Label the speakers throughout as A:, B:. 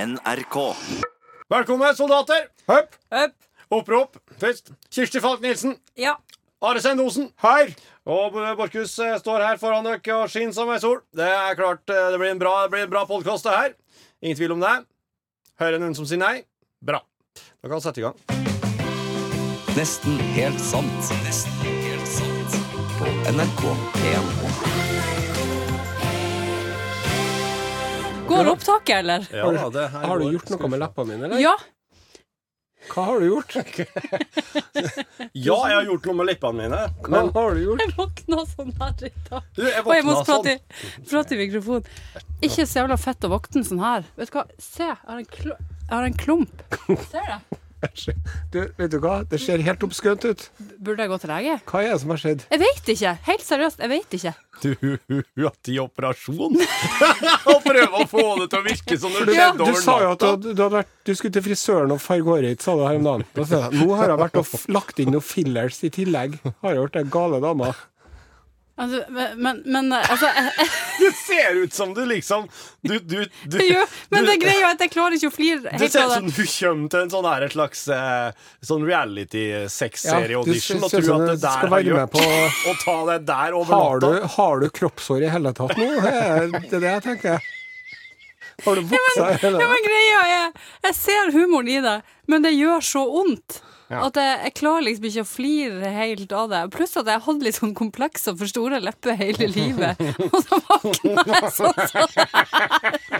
A: NRK.
B: Velkommen, soldater! Høpp!
C: Øpp.
B: Opprop! Fest! Kirsti Falk Nilsen!
C: Ja.
B: Are Sendosen! Her! Og eh, Borchhus eh, står her foran dere og skinner som ei sol. Det er klart eh, det blir en bra, det blir en bra podkast, det her. Ingen tvil om det. Høyere enn hun som sier nei. Bra. Da kan vi sette i gang.
A: Nesten helt sant. Nesten helt sant. På NRK P1.
C: Går opptaket, eller?
B: Ja,
D: Har du-
B: da, det her
D: Har du
B: går.
D: gjort noe med leppene mine, eller?
C: Ja.
D: Hva har du gjort?
B: Ja, jeg har gjort noe med leppene mine.
D: Hva
B: Men
D: har du gjort?
C: Jeg våkna sånn her i dag.
B: du, jeg
C: Og jeg
B: våkna
C: måtte prate,
B: sånn.
C: i- prate i mikrofonen. Ikke så jævla fett å våkne sånn her. Vet du hva, se, jeg har en, kl jeg har en klump. Ser du?
D: Du, vet du hva? Det ser helt oppskønt ut.
C: Burde jeg gå til lege?
D: Hva er det som har skjedd?
C: Jeg vet ikke. Helt seriøst, jeg vet ikke.
B: Du har hatt i operasjon? og prøve å få det til å virke som det
C: Ja.
B: skjedde
D: Du
B: over
D: sa jo at du,
B: natta.
D: hadde- du, hadde vært, du skulle til frisøren og farge håret ditt, sa du her om dagen. Da sa jeg, Nå har jeg vært og f lagt inn noen fillers i tillegg. Har jeg vært ei gale dame?
C: Altså, men, men, men altså jeg, jeg,
B: Det ser ut som du liksom Du, du, du,
C: jo, Men
B: du-
C: det greia er at jeg klarer ikke å flire
B: Det
C: helt
B: ser
C: av
B: ut som
C: det.
B: du kommer til en sånn her, en slags eh, sånn
D: Ja, du ser-
B: reality-sex-serie-audition og
D: ser
B: tror
D: ut
B: at
D: som
B: det
D: du
B: der
D: skal
B: har
D: være med
B: gjort
D: på-
B: Og ta det der over
D: Har du,
B: natta.
D: har du kroppshår i hele tatt nå? Det er det er det jeg tenker. Har du voksa i hele
C: Ja, men greia er Jeg ser humoren i det, men det gjør så vondt. At jeg, jeg klarer liksom ikke å flire helt av det. Pluss at jeg hadde litt sånn komplekser for store lepper hele livet. Og så våkna jeg sånn sånn.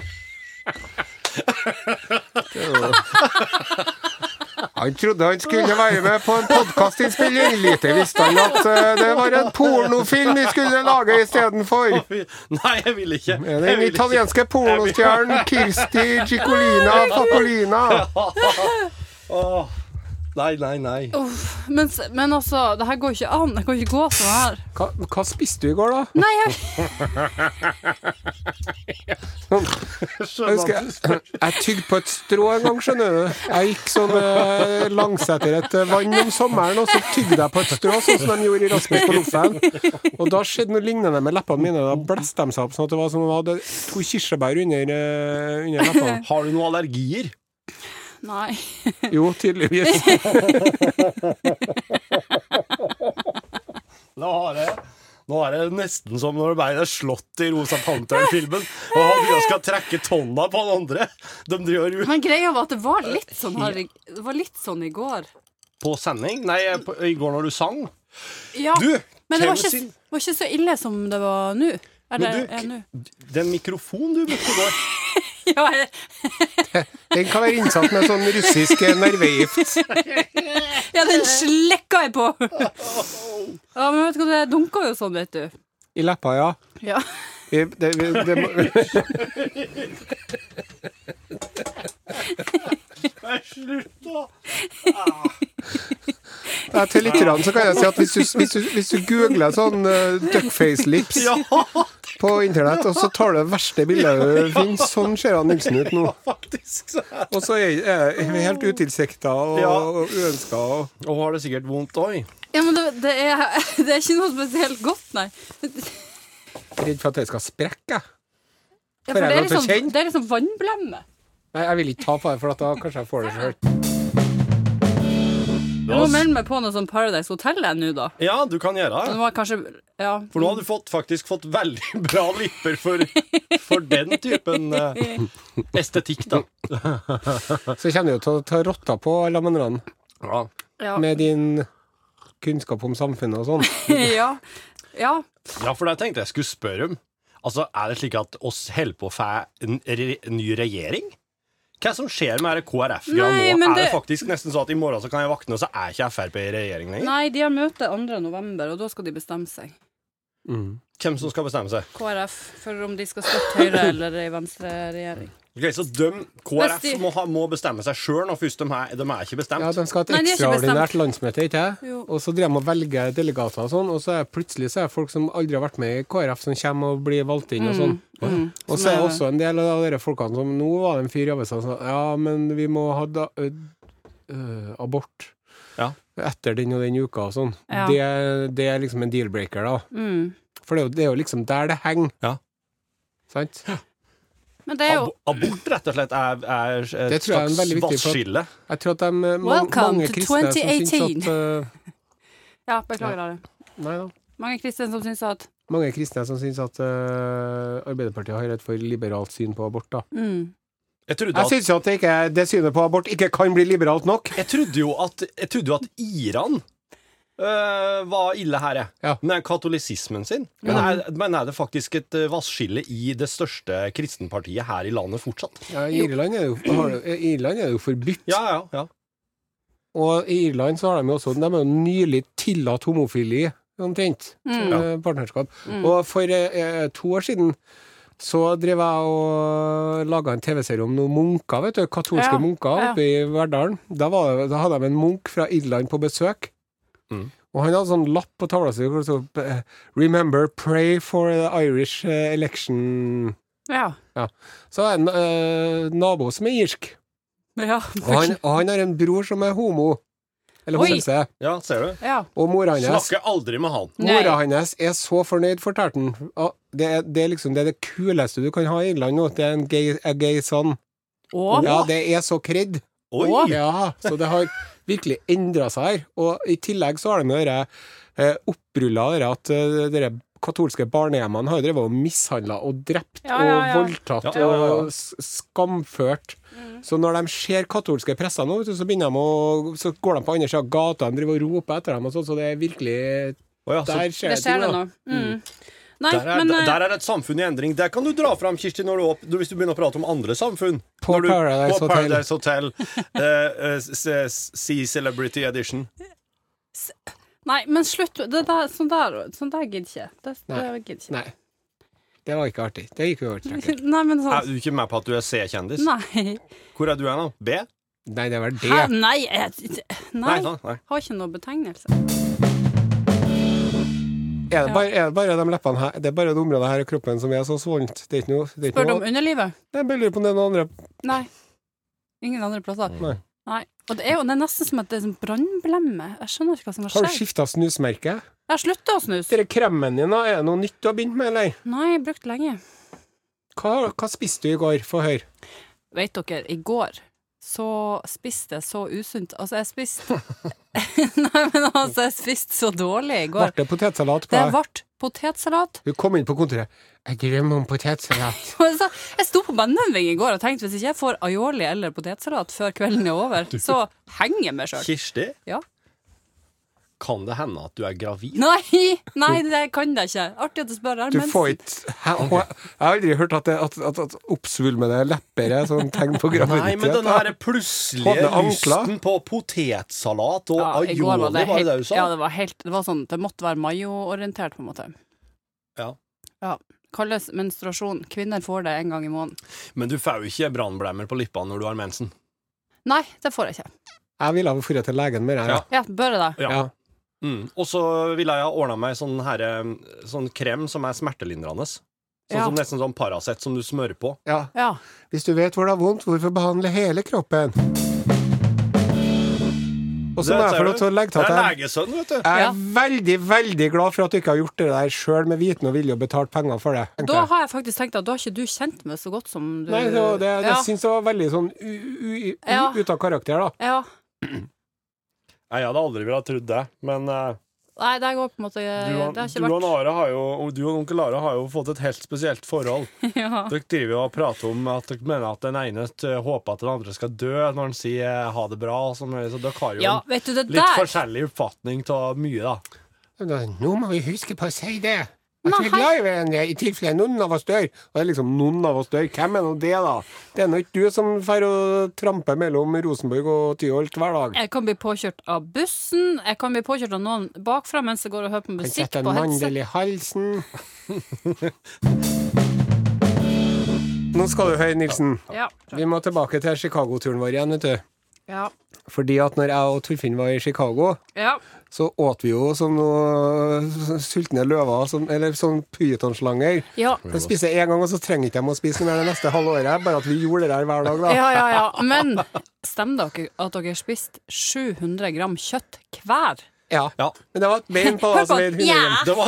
D: Han trodde han skulle være med på en podkastinnspilling. Lite visste han at eh, det var en pornofilm vi skulle lage istedenfor.
B: Nei, jeg vil ikke.
D: Er
B: Jeg
D: Den
B: vil ikke.
D: italienske pornostjernen Kirsti Gicolina Facolina.
B: Åh. Nei, nei, nei.
C: Uff, Men, s- men altså, det her går ikke an. Jeg kan ikke gå sånn her.
D: Hva, hva spiste du i går, da?
C: Nei, jeg,
D: Jeg husker jeg, jeg tygde på et strå en gang, skjønner du. Jeg gikk sånn eh, langs etter et eh, vann om sommeren, og så tygde jeg på et strå, sånn som de gjorde i Rasmus på Loffen. Og da skjedde noe lignende med leppene mine. Da blåste de seg opp sånn at det var som om de hadde to kirsebær under, eh, under leppene.
B: Har du noen allergier?
C: nei.
D: Jo, tydeligvis.
B: Nå har jeg nå er det nesten som når du ble slått i Rosa Panther-filmen og han driver og skal trekke tonna på han andre. De driver ut
C: Men greia var at det var litt sånn her i- Det var litt sånn i går.
B: på sending. Nei, på, i går når du sang.
C: Ja,
B: Du,
C: men det var
B: Kevin
C: ikke,
B: sin-
C: var ikke så ille som det var nå. Eller
B: Men du-
C: er nå.
B: den mikrofonen du brukte i går
C: Ja, jeg,
D: Den kan være innsatt med sånn russisk eh, nervegift.
C: Ja, den slekka jeg på! Ja, men vet du hva, det dunka jo sånn, vet du.
D: I leppa, ja.
C: Ja.
D: Vi, det, vi, det, må-
B: Nei, Slutt, da!
D: Ja, til lytterne så kan jeg si at hvis du, hvis du, hvis du googler sånn eh, duckface lips
B: Ja,
D: på internett, og så tar du det verste bildet du finner, sånn ser han Nilsen ut nå.
B: faktisk. så er det.
D: Og så er er vi helt utilsikta og,
B: Ja.
D: og uønska. Og,
B: Og har det sikkert vondt òg.
C: Ja, men det, det, er, det er ikke noe spesielt godt, nei.
D: jeg er redd for at det skal sprekke. jeg.
C: Ja,
D: For
C: for det
D: er det
C: er
D: noe
C: liksom,
D: kjent?
C: det er liksom vannblemme.
D: Nei, jeg vil ikke ta på det, for at da kanskje jeg får det sjøl.
C: Jeg må melde meg på noe sånn Paradise Hotel jeg nå, da.
B: Ja, du kan gjøre
C: Det
B: det.
C: var kanskje Ja.
B: For nå har du fått, faktisk fått veldig bra lipper for, for den typen eh, estetikk, da.
D: Så kommer du jo til å ta rotta på alle de andre
B: Ja.
C: Ja.
D: med din kunnskap om samfunnet og sånn.
C: ja. ja.
B: ja, for det tenkte jeg skulle spørre om. Altså, Er det slik at oss holder på å få en re ny regjering? Hva som skjer med KrF-greia
C: Nei,
B: nå?
C: men
B: Er det
C: det-
B: faktisk nesten sånn at i morgen så kan jeg våkne, og så er ikke Frp i regjering lenger?
C: Nei, de har møte 2. november, og da skal de bestemme seg.
B: Hvem som skal bestemme seg?
C: KrF, for om de skal støtte Høyre eller ei venstreregjering.
B: Ok, Så døm
C: Hvis
B: KrF
C: de-
B: må, ha, må bestemme seg sjøl nå først. De er, de er ikke bestemt.
D: Ja, de skal ha
C: Nei,
D: et
C: det er ikke
D: ekstraordinært landsmøte, ikke det?
C: Jo.
D: Og så driver de og velger delegater og sånn, og så er plutselig så er det folk som aldri har vært med i KrF, som kommer og blir valgt inn og
C: Mm,
D: sånn. Og så er det også en del av de folkene som Nå var det en fyr i avisa som sa ja, men vi må ha da, ø, ø, abort
B: Ja.
D: etter den og den uka og sånn.
C: Ja.
D: Det, det er liksom en deal-breaker, da.
C: Mm.
D: For det er, jo, det er jo liksom der det henger.
B: Ja.
D: Sant?
C: Men det er jo
B: Ab abort rett og slett er, er et
D: Det tror jeg er en
B: slags
D: veldig viktig for-
B: vannskille.
D: Jeg tror at de, eh, ma-
C: Welcome
D: mange
C: to
D: kristne som syns
C: 2018.
D: at eh,
C: Ja, beklager, Are.
D: Nei da.
C: Mange kristne som syns at
D: Mange kristne som syns at eh, Arbeiderpartiet har et for liberalt syn på abort, da.
C: mm.
B: Jeg trodde,
D: Jeg
B: at,
D: syns jo at det, ikke, det synet på abort ikke kan bli liberalt nok.
B: jeg trodde, jo, at, jeg trodde jo at Iran øh, var ille her, jeg.
D: Ja.
B: Med katolisismen sin. Men, er, men er det faktisk et øh, vannskille i det største kristenpartiet her i landet fortsatt?
D: Ja, I Irland er det jo, har, det- i Irland er det jo forbudt.
B: Ja, ja, ja.
D: Og i Irland så har de jo også De har jo nylig tillatt homofili, omtrent.
C: Mm.
D: eh, partnerskap. Og for eh, to år siden så drev jeg og laga en TV-serie om noen munker, vet du. Katolske
C: Ja,
D: munker
C: ja.
D: oppe i Verdalen. Da, var, det- da hadde de en munk fra Irland på besøk.
B: Mm.
D: Og han hadde sånn lapp på tavla si hvor det stod eh, 'Remember, pray for the Irish eh, election'.
C: Ja.
D: Så er det en eh, nabo som er irsk,
C: Ja.
D: og han, og han har en bror som er homo. Eller
C: Oi.
D: homse.
B: ja ser du?
C: ja.
D: Og mora hans
B: Snakker aldri med han.
C: Nei.
D: Mora hans er så fornøyd, fortalte han. Og Det er, det er liksom det, er det kuleste du kan ha i Irland nå. Det er en gay, a gay son.
C: Og
D: Ja, det er så kred.
B: Oi!
D: Ja, så det har virkelig endra seg her. Og i tillegg så har de dere eh, opprulla dere at eh, dere katolske barnehjemmene har jo drevet og mishandla og drept
C: Ja, ja, ja.
D: og voldtatt
B: Ja, ja, ja, ja.
D: og s- skamført.
C: Mm.
D: Så når de ser katolske presser nå, vet du, så, begynner de å, så går de på andre sida av gata de driver og roper etter dem, og sånn, så det er virkelig
B: Å ja, så
D: Der skjer
C: det skjer
D: ting,
C: det
D: da.
C: nå. Mm. Nei,
B: der, er,
C: men eh,
B: der er et samfunn i endring. Der kan du dra fram, Kirsti, når du opp, du, hvis du begynner å prate om andre samfunn.
D: På
B: Når du,
D: Paradise
B: på
D: Hotel.
B: Paradise Hotel. eh, eh, s- s- Sea Celebrity Edition.
C: Nei, men slutt. Det der, sånn der, sånn der gidder ikke. Det, det
D: Nei.
C: gidder ikke.
D: Nei. Det var ikke artig. Det gikk jo over streken.
C: Nei, men
B: Er
C: sånn
B: du ikke med på at du er C-kjendis?
C: Nei.
B: Hvor er du hen, da? B?
D: Nei, det var det.
C: Hæ? Nei, jeg, nei.
B: Nei, sånn, nei.
C: Har ikke noe betegnelse.
D: Er det bare, er det bare de leppene her Det er bare det området her i kroppen som er så svulmt? Det er ikke noe, det er ikke
C: Spør du
D: noe
C: om underlivet?
D: Jeg bare lurer på om det er noen andre
C: Nei. Ingen andre plasser.
D: Nei.
C: Nei. Og det er jo det er nesten som at det er sånn brannblemme. Jeg skjønner ikke hva som har
D: Har du
C: skjedd.
D: skifta snusmerke?
C: Jeg har slutta å snuse.
D: Dere kremen din, da, er det noe nytt du har begynt med, eller?
C: Nei, jeg har brukt lenge.
D: Hva, hva spiste du i går? Få høre.
C: Vet dere, i går så spiste jeg så usunt. Altså, jeg spiste Nei, men altså, jeg spiste så dårlig i
D: Ble
C: går.
D: det potetsalat på
C: Det
D: deg?
C: ble potetsalat.
D: Du kom inn på kontoret. Jeg drømmer om potetsalat.
C: Og så- Jeg sto på Benneving i går og tenkte hvis ikke jeg får aioli eller potetsalat før kvelden er over, så henger jeg meg sjøl.
B: Kirsti?
C: Ja.
B: Kan det hende at du er gravid?
C: Nei, nei, det kan jeg ikke. Artig at du spør. her,
D: Du
C: men-
D: får ikke Hæ? Og Jeg jeg har aldri hørt at, det, at, at, at oppsvulmede lepper er sånn tegn på graviditet.
B: Nei, men den
D: da.
B: her plutselige
D: Håper ankler.
B: lysten på potetsalat og
C: Ja, i
B: aioli,
C: går
B: var det
C: helt,
B: det du sa?
C: Ja, det var helt Det var sånn Det måtte være mayo-orientert, på en måte.
B: Ja.
C: Ja. Kalles menstruasjon. Kvinner får det en gang i måneden.
B: Men du får jo ikke brannblemmer på lippene når du har mensen.
C: Nei, det får jeg ikke.
D: Jeg ville ha dratt til legen med det.
B: Ja.
D: Ja.
C: Ja, bør jeg det?
B: Ja.
D: Ja.
B: Mm. Og så ville jeg ha ordna meg sånn, her, eh, sånn krem som er smertelindrende. Sånn
C: Ja.
B: som Nesten sånn Paracet som du smører på.
D: ja.
C: Ja.
D: Hvis du vet hvor det er vondt, hvorfor behandle hele kroppen? Og så må jeg få lov til å legge til
B: Det
D: at
B: er
D: jeg,
B: legesønn, vet du.
D: jeg
C: Ja.
D: er veldig, veldig glad for at du ikke har gjort det der sjøl med viten og vilje og betalt penger for det. tenkte
C: Da
D: jeg.
C: har jeg faktisk tenkt at da har ikke du kjent meg så godt som du
D: Nei, det, var- det, det
C: ja.
D: syns jeg var veldig sånn u, u, u,
C: Ja.
D: ute av karakter, da.
C: ja.
B: Nei, jeg hadde aldri villet ha trodd det, men eh,
C: Nei, det går på en måte
B: du,
C: Eh, Det
B: og-
C: har
B: du
C: ikke
B: og Nara har jo, og du og onkel Lara har jo fått et helt spesielt forhold.
C: vært ja.
B: Dere driver jo og prater om at dere mener at den ene t- håper at den andre skal dø når han sier eh, ha det bra. og sånn, så dere har jo
C: ja,
B: en
C: vet du, det
B: litt
C: der
B: forskjellig oppfatning av mye, da.
D: Men da, Nå må vi huske på å si det. At vi
C: Nei.
D: er glad i hverandre i tilfelle noen av oss dør. Og det er liksom noen av oss dør. Hvem er nå det, da? Det er nå ikke du som drar og tramper mellom Rosenborg og Tyholt hver dag.
C: jeg kan bli påkjørt av bussen, jeg kan bli påkjørt av noen bakfra mens jeg går og hører på
D: Kan
C: musikk
D: sette
C: på
D: en
C: headset.
D: mandel i halsen. Nå skal du høre, Nilsen.
C: Ja.
D: Vi må tilbake til Chicago-turen vår igjen, vet du.
C: Ja.
D: Fordi at når jeg og Torfinn var i Chicago,
C: ja.
D: så åt vi jo som noe sultne løver, som, eller sånn pytonslanger.
C: Ja.
D: De spiser én gang, og så trenger ikke de å spise noe mer det neste halve året. Bare at vi gjorde det der hver dag, da.
C: Ja, ja, ja. Men stemmer dere at dere spiste 700 gram kjøtt hver?
D: Ja.
B: Ja.
D: Men det var et bein på hva
C: Hør
D: som
C: på
D: het
C: den.
D: Hundehjem.
B: Det var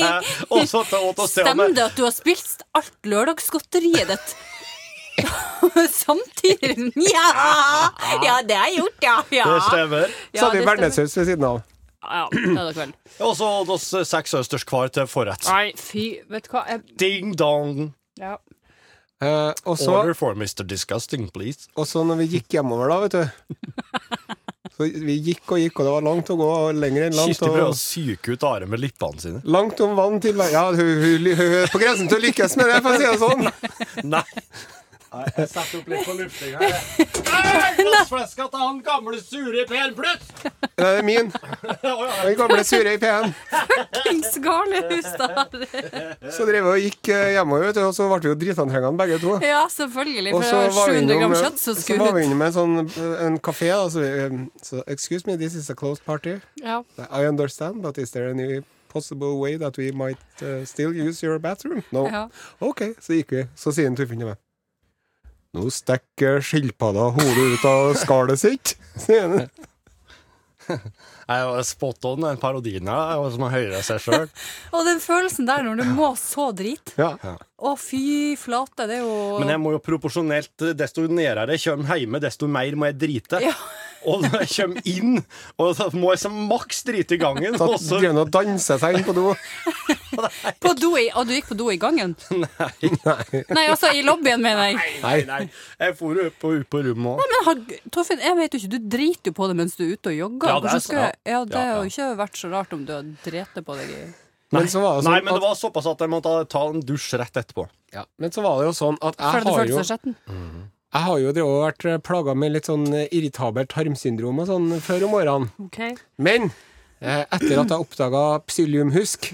C: Ja!
B: Og så til Åt og
C: Stemmer
B: Stjerne.
C: det at du har spilt alt lørdagsgodteriet ditt? Samtidig? Ja! Ja, det har jeg gjort, ja. ja.
B: Det stemmer.
C: Ja,
D: Så hadde vi
C: det stemmer.
D: bearnéssaus ved siden av.
C: Ja, det er det vel.
B: Og så åt oss eh, seks østers hver til forrett.
C: Nei, fy, vet du hva jeg,
B: Ding dong.
C: ja.
D: Eh, og så
B: Order for Mr. Disgusting, please.
D: Og så når vi gikk hjemover, da, vet du Så vi gikk og gikk, og det var langt å gå, og lenger enn langt.
B: Kirsti prøver å
D: Og,
B: psyke ut Are med lippene sine.
D: langt om vann til vei. Ja, hun, hun, hun er på grensen til å lykkes med det, for å si det sånn.
B: Nei. jeg setter opp litt på lufting her. Glassfleska til han gamle sure Per Plutt!
D: Det er min. Den gamle sure i P1.
C: Fuckings Garnehus, da.
D: Så drev vi og gikk eh, hjemover, vet du, og så ble vi jo dritantrengende begge to.
C: Ja, selvfølgelig.
D: Og
C: For
D: så
C: det var
D: var
C: 700
D: vi innom,
C: gram
D: eh,
C: kjøtt som
D: så
C: skulle
D: var vi
C: ut.
D: inne med en sånn, eh, en kafé, da, så, vi, eh, så Excuse me, this is a closed party.
C: Ja.
D: I understand, but is there any possible way that we might uh, still use your bathroom? No.
C: Ja.
D: Ok, så gikk vi. Så sier en Torfinn til meg. Nå stikker skilpadda hodet ut av skallet sitt, sier han.
B: Jeg var spot on den parodien her, jeg var som er høyere enn seg sjøl.
C: Og den følelsen der når du må så drit.
D: Ja.
C: Å, fy flate, det er jo
B: Men jeg må jo proporsjonelt Desto nærere jeg kommer hjemme, desto mer må jeg drite.
C: Ja.
B: Og når jeg kommer inn, og da må jeg så maks drite i gangen.
D: Da
B: Og så
D: driver han og danser seg inn på do.
C: På do i, og du gikk på do i gangen?
D: Nei.
C: Nei, altså i lobbyen, mener jeg.
B: Nei, nei. Jeg for jo opp på, ut på rommet òg.
C: Men har, Torfinn, jeg vet jo ikke, du driter jo på det mens du er ute og
B: Ja,
C: jogger.
B: det er
C: Hvordan
B: sant.
C: skal, jeg- ja, det
B: Ja,
C: har
B: ja.
C: jo ikke vært så rart om du har drept på deg i
D: Men så var
B: Nei,
D: det sånn
B: men det
D: at,
B: var såpass at jeg måtte ta en dusj rett etterpå.
D: ja, men så var det jo sånn at
C: Før
D: jeg
C: du
D: har
C: følte
D: jo,
C: deg skjetten.
D: jeg har jo drevet og vært plaga med litt sånn irritabelt tarmsyndrom og sånn før om årene. Men eh, etter at jeg oppdaga psylliumhusk,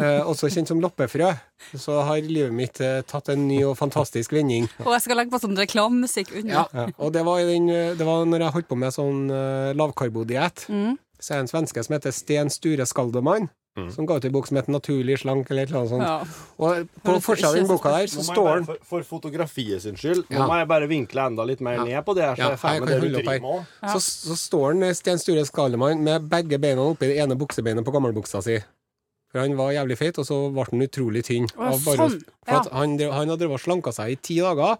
D: eh, også kjent som loppefrø, så har livet mitt eh, tatt en ny og fantastisk vending.
C: Og jeg skal legge på sånn reklamemusikk under.
D: Ja, og det var, i den, eh, det var når jeg holdt på med sånn eh, lavkarbodiett.
C: Mm.
D: Så er det en svenske som heter Sten Sture Skaldemann, som ga ut en bok som heter 'Naturlig slank' eller et eller annet sånt.
C: Ja.
D: Og på
C: Høres
D: forsida av den
C: ikke så
D: boka der så
B: Nå må jeg
D: står
B: bare
D: den
B: for, for fotografiet sin skyld. Nå
D: Ja.
B: må jeg bare vinkle enda litt mer ned på det. her,
D: Ja,
B: Så jeg er ferdig
D: jeg
B: med det
D: kan
B: du
D: holde opp her.
B: driver med også.
D: så, så står den Sten Sture Skallemann med begge beina oppi det ene buksebeinet på gammelbuksa si. For han var jævlig feit, og så ble han utrolig tynn.
C: Å,
D: av bare å-
C: sånn,
D: For at
C: ja.
D: han, drev- han hadde drevet og slanka seg i ti dager.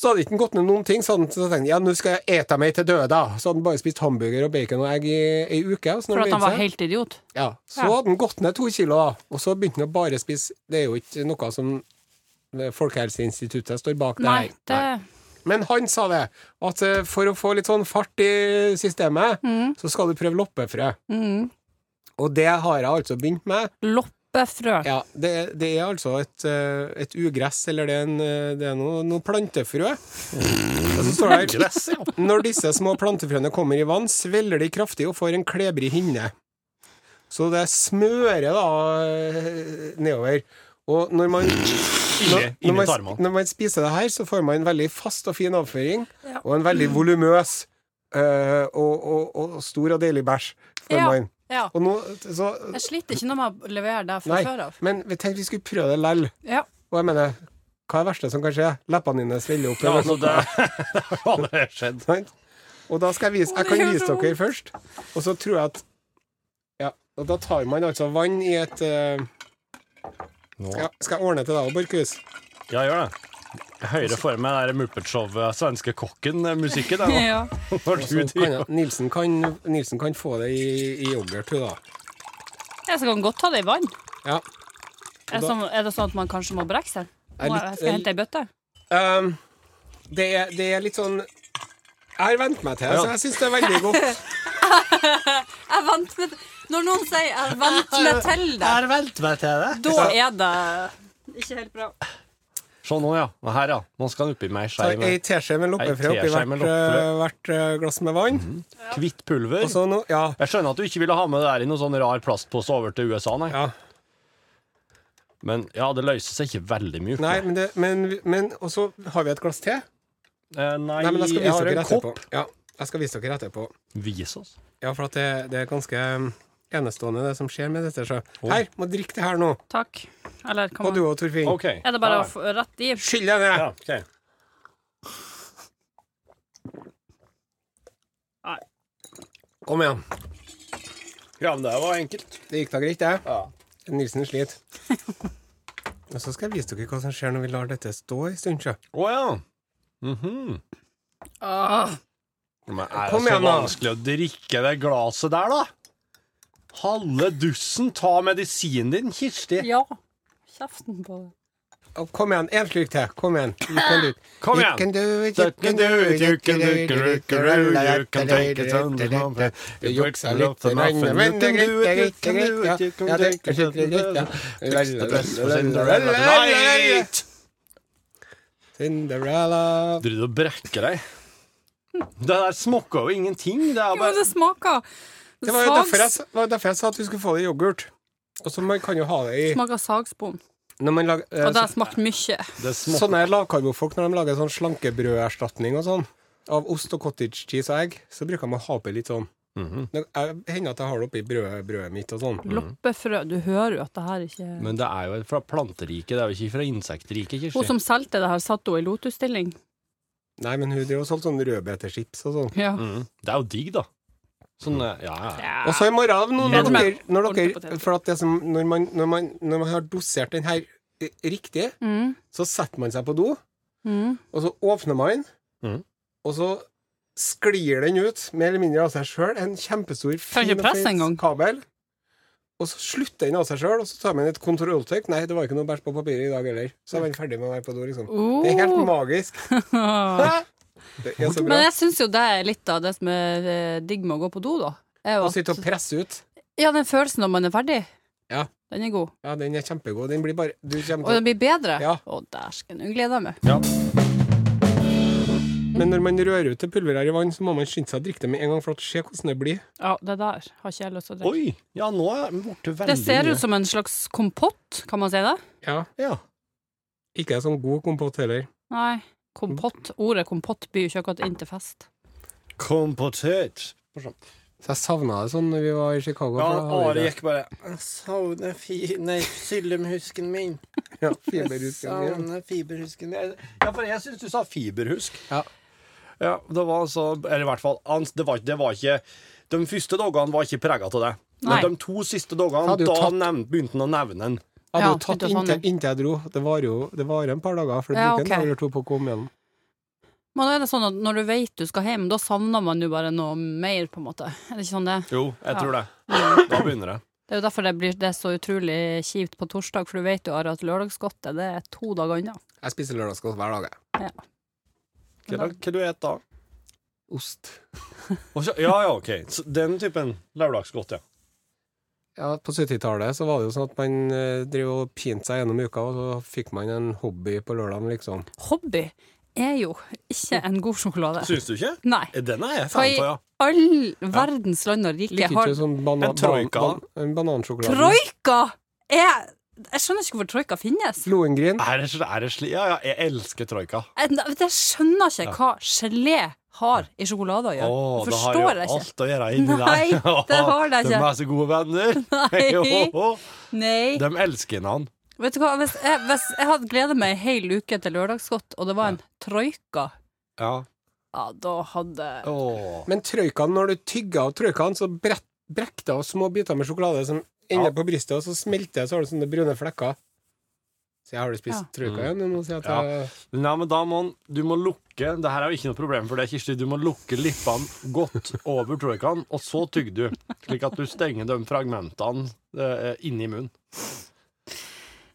D: Så hadde ikke han gått ned noen ting, så hadde han så tenkte han, ja, nå skal jeg ete meg til døde. Så hadde han bare spist hamburger og bacon og egg i ei uke. Og så, når
C: For at han
D: han begynte
C: var
D: seg-
C: helt idiot.
D: ja, så
C: Ja.
D: hadde han gått ned to kilo, da. Og så begynte han å bare spise Det er jo ikke noe som eh, Folkehelseinstituttet står bak det
C: Nei,
D: her.
C: det
D: Men han sa det, at eh, for å få litt sånn fart i systemet, så skal du prøve loppefrø.
C: Mm.
D: Og det har jeg altså begynt med.
C: Loppefrø.
D: Ja, det, det er altså et, eh, et ugress, eller det er, en, eh, det er noe, noe plantefrø. Og så står det her Når disse små plantefrøene kommer i vann, svelger de kraftig og får en klebrig hinne. Så det smører da eh, nedover. Og når man, når,
B: Inni-
D: når,
B: Inni
D: man,
B: tarmene.
D: når man spiser det her, så får man en veldig fast og fin avføring, og en veldig volumøs eh, og, og, og stor og deilig bæsj. får
C: Ja.
D: man.
C: Ja.
D: Og nå, så,
C: Jeg sliter ikke noe med å levere det fra
D: nei,
C: før av.
D: men vi tenkte vi skulle prøve det lell.
C: Ja.
D: Og jeg mener, hva er det verste som kan skje? Leppene dine sveller opp.
B: Ja,
D: eller
B: altså,
D: noe.
B: det det har aldri skjedd.
D: Sant? Og da skal jeg vise Jeg
C: Å, det
D: kan
C: gjør
D: vise
C: så
D: dere først. Og så tror jeg at Ja. Og da tar man altså vann i et eh, ja, Skal jeg ordne til deg òg, Borchhus?
B: Ja, gjør det. Jeg hører for meg det der Muppet-showet Svenske kokken-musikken. der,
C: Ja.
B: nå. Når du
D: Så kan
B: driver
D: jeg- Nilsen, kan- Nilsen kan få det i, i yoghurt, hun, da.
C: Jeg skal godt ta det i vann.
D: Ja.
C: Er, det sånn- er det sånn at man kanskje må brekke seg?
D: Jeg er
C: Må,
D: litt-
C: jeg skal jeg hente ei bøtte?
D: Ehm, det, er, det er litt sånn Jeg har vent meg til det, så jeg syns det er veldig godt.
C: Jeg vant med Når noen sier 'jeg vant meg til det',
B: Her vent meg til det.
C: da er det ikke helt bra.
B: Se nå, ja. Nå Her, ja. Nå skal han oppi meg
D: Ta
B: skei
D: Ei
B: med
D: teskje med
B: Ei
D: loppefrø oppi
B: teskje med Mhm.
D: hvert, eh, hvert eh, glass med vann.
B: hvitt pulver.
D: Og så nå Ja.
B: Jeg skjønner at du ikke ville ha med det der i noen sånn rar plastpose over til USA, nei.
D: ja.
B: Men ja, det løser seg ikke veldig mye.
D: Nei, men, det, men, men Og så har vi et glass til.
B: Eh, nei,
D: Nei, men jeg skal
B: jeg
D: vise
B: har
D: dere
B: en
D: etterpå.
B: kopp.
D: Ja, jeg skal vise dere etterpå.
B: Vis oss.
D: Ja, for at det, det er ganske um, enestående, det som skjer med dette. Så. Her, må drikke det her nå.
C: Takk. Eller kan
D: Og
C: man
D: du òg, Torfinn.
B: OK.
C: Er det bare å få rett i?
D: Skyll deg ned!
B: Ja, ok.
C: Nei.
D: Kom igjen.
B: Ja, men det var enkelt.
D: Det gikk da greit, det.
B: Ja.
D: Nilsen sliter. Og så skal jeg vise dere hva som skjer når vi lar dette stå en stund. sjø.
B: Å ja. Mhm.
D: Ah.
C: Åh.
B: Men er
D: Kom
B: det så
D: igjen, da.
B: vanskelig å drikke det glaset der, da? Halve dussen. Ta medisinen din, Kirsti.
C: Ja. Kjeften på det.
D: Å, Kom igjen, en slurk til. Kom igjen. You can do it.
B: Kom igjen.
D: You can do it,
B: You
D: you
B: can do it, you can do it, you can do it, you can take it on the
D: can do
B: mountain.
D: it. Det juksa litt,
B: You
D: men men det er greit, det er greit, det er greit. Ja,
B: can do it, you can take
D: ja, det er
B: it on the
D: skikkelig greit, ja.
B: mountain. Fix the best for Cinderella tonight.
D: Cinderella.
B: Driver du og brekker deg? Det der smaker jo ingenting. Det er
C: Jo, men
B: bare
C: det smaker
D: Det var jo
C: sags-
D: derfor jeg, sa- det var derfor jeg sa at vi skulle få det i yoghurt. Og så man kan jo ha det i
C: smaker sagsbom.
D: når man lager, eh,
C: Og det har smakt mye.
B: det
D: så,
B: smaker.
D: Sånne lavkarbofolk, når de lager sånn slankebrøderstatning og sånn, av ost og cottage cheese og egg, så bruker de å ha oppi litt sånn.
B: Mhm.
D: Det jeg- hender at jeg har det oppi brødet, brødet mitt og sånn.
C: Loppefrø. Du hører jo at det her ikke
B: Men det er jo fra planteriket, det er jo ikke fra insektriket,
C: Hun
B: Kirsti.
C: som solgte det her, satt hun i lotusstilling?
D: Nei, men hun driver og solgte sånn rødbetechips og sånn.
C: Ja.
B: Mm. Det er jo digg, da. Sånn, eh, ja, ja.
C: Ja.
D: Og så i morgen, nå, når
C: Leder meg.
D: dere, når
C: Ordentlig
D: dere
C: potet.
D: For at det som, når, man, når, man, når man har dosert den her eh, riktig,
C: Mm,
D: så setter man seg på do,
C: mm.
D: og så åpner man,
B: Mhm.
D: og så sklir den ut, mer eller mindre av seg sjøl, en kjempestor,
C: Kan
D: fin
C: ikke
D: og
C: presse engang.
D: feit kabel. Og så slutter den av seg sjøl, og så tar man et kontrolltrekk. Nei, det var ikke noe bæsj på papiret i dag heller. Så er man ferdig med å være på do, liksom. Det er helt
C: Oh. magisk.
D: magisk.
C: Ah.
D: Det er så
C: Men
D: bra.
C: jeg syns jo det er litt av det som er eh, digg med å gå på do, da. Er jo
D: Å
C: at-
D: sitte og presse ut.
C: ja, den følelsen når man er ferdig,
D: Ja.
C: den er god.
D: Ja, den er kjempegod. Den blir bare Du kommer
C: Og
D: til
C: den
D: å
C: blir bedre.
D: Ja.
C: Å, dæsken. Nå gleder jeg meg.
B: ja.
D: Men når man rører ut det pulveret her i vann, så må man skynde seg å drikke det med en gang, for at se hvordan det blir.
C: Ja, det der har ikke jeg lyst til å drikke.
B: Oi! Ja, nå er jeg borte veldig
C: Det ser
B: mye.
C: ut som en slags kompott, kan man si det?
D: Ja.
B: Ja.
D: Ikke en sånn god kompott heller.
C: Nei. Kompott. Ordet kompott byr jo ikke akkurat inn til fest.
B: Kompotert.
D: Så jeg savna det sånn når vi var i Chicago.
B: Ja,
D: for da
B: Are
D: hadde vi det.
B: gikk bare Jeg savner fine syllemhusken min.
D: Ja, fiberhusken, ja.
B: fiberhusken min. Ja, for jeg syns du sa fiberhusk.
D: Ja.
B: Ja, det var altså Eller i hvert fall ans- det var, det var ikke De første dagene var ikke prega av det.
C: Nei.
B: Men de to siste dagene,
D: Hadde jo
B: da
D: tatt-
B: nevn, begynte han å nevne den.
D: Jeg hadde
C: Ja,
D: jo tatt
C: begynte å
D: inntil,
C: savne.
D: inntil jeg dro. Det varer jo det varer en par dager, for det
C: Ja,
D: bruker en
C: ok.
D: dag eller to på å komme gjennom.
C: Men da er det sånn at når du vet du skal hjem, da savner man jo bare noe mer, på en måte. Er det ikke sånn det? er?
B: Jo, jeg
C: Ja.
B: tror det. Da begynner det.
C: Det er jo derfor det blir det er så utrolig kjipt på torsdag, for du vet jo Are, at lørdagsgodtet det er to dager unna.
D: Jeg spiser lørdagsgodt hver dag, jeg.
B: Hva, da- hva du et da?
D: Ost.
B: Og så- Ja, ja, OK. Så den typen lørdagsgodt, ja.
D: Ja, på 70-tallet så var det jo sånn at man eh, drev og pinte seg gjennom uka, og så fikk man en hobby på lørdagen, liksom.
C: Hobby er jo ikke en god sjokolade.
B: Syns du ikke? Eh,
C: Nei.
B: Den er jeg
C: For
B: fan
C: i
B: av, ja.
C: all verdens land og rike
D: Liker
C: har
D: ikke sånn bana
B: En troika,
D: ban- ban- en banansjokolade.
C: Troika! Er Jeg skjønner ikke hvorfor troika finnes.
D: Lohengrin.
B: Er det, sl- er det sli... Ja, ja, jeg elsker troika.
C: Jeg, jeg skjønner ikke hva gelé har i sjokolade å gjøre.
B: Åh,
C: det
B: det har jo
C: forstår jeg ikke.
B: alt å gjøre inni der.
C: Nei, det har det
B: De
C: ikke.
B: er så gode venner.
C: Nei.
B: Jo, ho, ho.
C: Nei.
B: De elsker han.
C: Vet du hva, hvis jeg, hvis jeg hadde gleda meg ei hel uke til lørdagsgodt, og det var en troika,
B: Ja.
C: ja, da hadde
B: Åh.
D: Men trøykan, når du tygger av trøykan, så brett, brekk det av små biter med sjokolade som ender
B: Ja.
D: på brystet, og så smelter det, så har du sånne brune flekker. Så jeg har du spist
C: Ja.
D: trøyka igjen? Jeg må si at
B: Ja.
D: jeg,
B: Nei, men da må han Du må lukke Det her er jo ikke noe problem for deg, Kirsti. Du må lukke lippene godt over troikaen, og så tygger du. Slik at du stenger de fragmentene eh, inni munnen.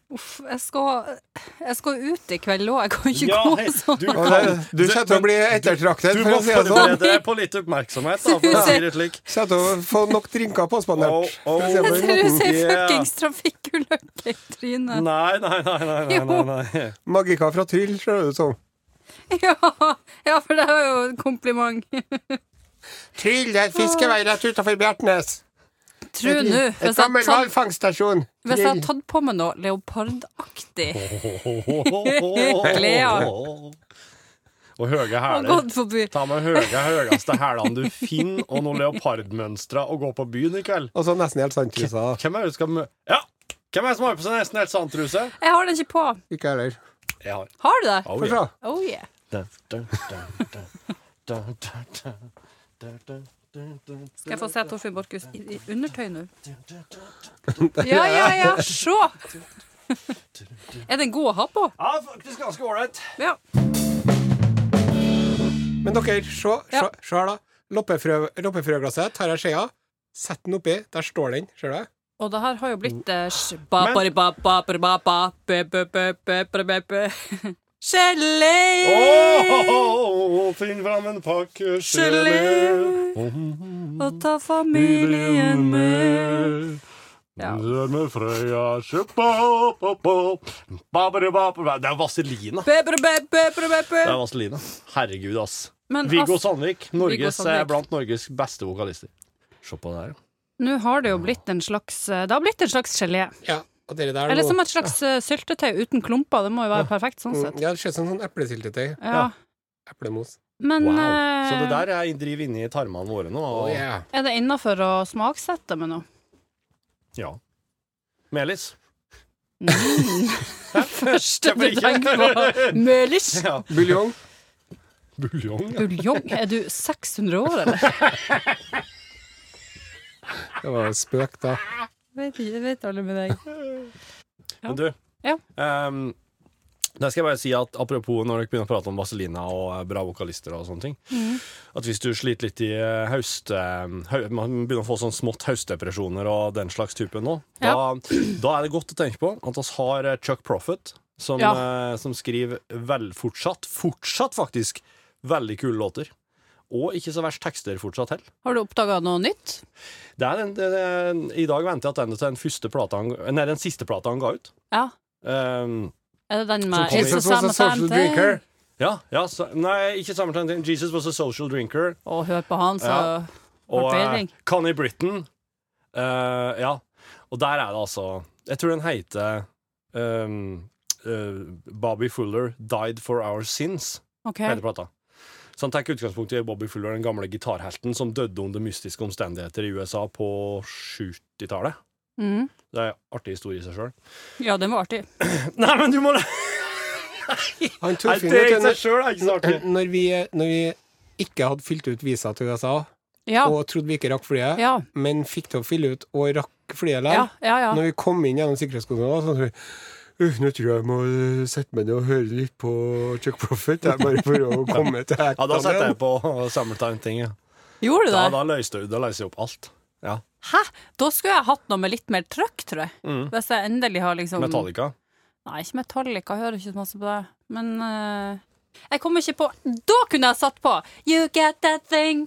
C: Uff, jeg skal, jeg skal ut i kveld òg, jeg kan ikke
B: Ja, hei,
C: gå sånn.
B: du
D: Og det, du kommer til å
B: men
D: bli ettertraktet,
B: Du
D: for
B: må
D: å si det sånn.
B: forberede deg på litt oppmerksomhet, da, for å si det slik.
D: Kommer til å få nok drinker påspandert.
B: Åh, åh.
D: for å si det på
C: Jeg ser
D: den
C: ut
D: måten.
C: som ei
B: Yeah.
C: fuckings trafikkulykke i
B: Nei,
C: trynet.
B: nei, nei, nei, nei, nei, nei.
D: Magika fra Tryll, sånn. ser det ut som.
C: Ja, ja, for det er jo et kompliment.
D: Tryll, det er et fiskevei rett utenfor Bjertnæs.
C: Tro nå,
D: Et
C: hvis jeg hadde
D: gammel
C: tatt,
D: hvalfangststasjon.
C: hvis jeg hadde tatt på meg noe leopardaktig
B: Glea. Og høye
C: og
B: hæler.
C: gått forbi
B: Ta med høye, høyeste hælene du finner, og noen leopardmønstre, og gå på byen i kveld.
D: Og så nesten helt sandtrusa.
B: Hvem er det du skal mø... Ja! Hvem er det som har på seg nesten helt sandtruse?
C: Jeg har den ikke på.
D: Ikke heller.
B: Jeg har.
C: Har du det?
B: Oh,
D: Få se.
B: yeah.
C: Oh yeah.
B: Dun, dun, dun, dun, dun, dun, dun, dun,
C: Skal jeg få se Torfinn Borchhus i i undertøy nå? Ja, ja, ja, se! Er den god å ha på?
B: Ja, faktisk ganske ålreit.
C: Ja.
D: Men dere, se, se,
C: Ja.
D: se her, da. Loppefrø, loppefrøglasset tar jeg skjea, setter den oppi. Der står den, ser du?
C: Og det her har jo blitt eh, sj- ba- bari- ba- ba- bari- ba- ba- bø- bø- bø- bø- bra- bø- bø. Gelé!
B: Åh, finn fram en pakke gelé.
C: Gelé! Og ta familien med. Ja.
B: Med Frøya shabba-ba-ba. Ba-ba-da-ba-ba. Det er vaselina.
C: Bø- bra- bø- bø- bra- bø- bø.
B: Det er vaselina. Herregud, ass.
C: Men
B: Viggo
C: ass,
B: Sandvik, Norges,
C: Sandvik.
B: eh, blant Norges beste vokalister. Se på det her.
C: nå har det jo blitt en slags eh, Det har blitt en slags gelé.
D: Ja, og dere der
C: Eller
D: nå-
C: som et slags eh, syltetøy uten klumper. Det må jo være perfekt sånn
D: Mm,
C: sett.
D: Ja, det ser ut som sånn eplesyltetøy.
C: Ja.
D: Eplemos.
C: Men
B: Wow.
C: eh,
B: Så det der er driver inni tarmene våre nå.
D: Oh,
B: Og,
D: yeah.
C: er det innafor å smaksette med noe?
B: ja. Melis.
C: Første
B: Jeg
C: du
B: blir ikke-
C: tenker på. Mølis.
B: Ja.
D: Buljong.
B: Buljong. ja.
C: Buljong? Er du 600 år, eller?
D: Det var en spøk, da.
C: Vet ikke, vet aldri med deg. Ja.
B: Men du,
C: Ja.
B: ehm, da skal jeg bare si at apropos når dere begynner å prate om Vaselina og eh, bra vokalister og sånne ting,
C: Mm.
B: at hvis du sliter litt i eh, haust... eh, hau- man begynner å få sånn smått høstdepresjoner og den slags type nå, da, da er det godt å tenke på at oss har eh, Chuck Profit, som, eh, som skriver vel fortsatt, fortsatt faktisk, veldig kule låter. Og ikke så verst tekster fortsatt heller.
C: Har du oppdaga noe nytt?
B: Det er den, det, det, I dag venter jeg at den er den, første plata han, nei, den siste plata han ga ut.
C: Ja.
B: Ehm,
C: Er det den
D: Som
C: med
D: Jesus was a social drinker.
B: Ja, ja så, Nei, ikke samme tegn. Jesus was a social drinker.
C: Å, hør på han, så
B: Ja. Og
C: Har peiling.
B: eh, Connie Britton. Eh, ja. Og der er det altså Jeg tror den heter um, eh, Bobby Fuller Died for Our Sins.
C: OK.
B: Heter plata. Så han tar utgangspunkt i Bobby Fuller, den gamle gitarhelten som døde under mystiske omstendigheter i USA på 70-tallet.
C: Mm.
B: Det er en artig historie i seg sjøl.
C: Ja, den var artig.
B: Nei, men du må
D: Han
B: Nei,
D: Torfinn,
B: Det i
D: vet du,
B: seg sjøl er ikke så
D: når,
B: artig.
D: når, vi, når vi ikke hadde fylt ut visa til USA,
C: Ja.
D: og trodde vi ikke rakk flyet,
C: Ja.
D: men fikk til å fylle ut og rakk
C: Ja,
D: flyet der,
C: ja, ja.
D: når vi kom inn gjennom sikkerhetskontrollen, så tenkte vi «Uh, nå tror jeg jeg må sette meg ned og høre litt på Chuck Profit, jeg, bare for å komme til
B: Ja, da setter jeg
D: hekta.
B: på Summertime-tinget.
C: Gjorde du
B: Da,
C: det?
B: da løste jeg- da løser jeg opp alt. Ja.
C: Hæ? Da skulle jeg hatt noe med litt mer trøkk, tror jeg. Hvis jeg endelig har liksom
B: Metallica.
C: Nei, ikke Metallica. Jeg hører ikke så masse på det. Men eh, jeg kommer ikke på Da kunne jeg satt på! You get that thing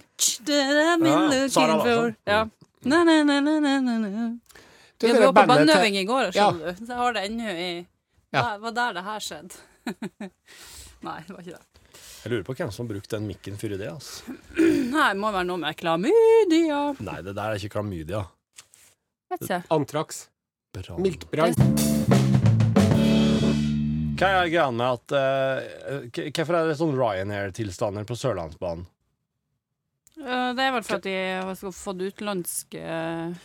B: Ja,
C: that I've
D: Ah,
C: been
B: ja.
C: looking
B: Sara
C: for.
B: Larsson.
C: Ja. Na, na, na, na, na, na, na.
D: Mm. Du,
C: Vi
D: det
C: var på
D: bandet til-
C: bandøving i går,
D: Ja.
C: skjønner du. Så jeg har det ennå i
D: Ja.
C: Det var der det her skjedde. Nei, det var ikke det.
B: Jeg lurer på hvem som har brukt den mikken før i det. Altså.
C: Nei, det må være noe med klamydia.
B: Nei, det der er ikke klamydia.
C: Vet ikke.
D: Antrax.
B: Bra.
D: Miltbrann.
B: Hva er greia med at eh, k- Hvorfor er det sånn Ryanair-tilstander på Sørlandsbanen?
C: Eh, Det er vel for at de har fått utenlandske eh,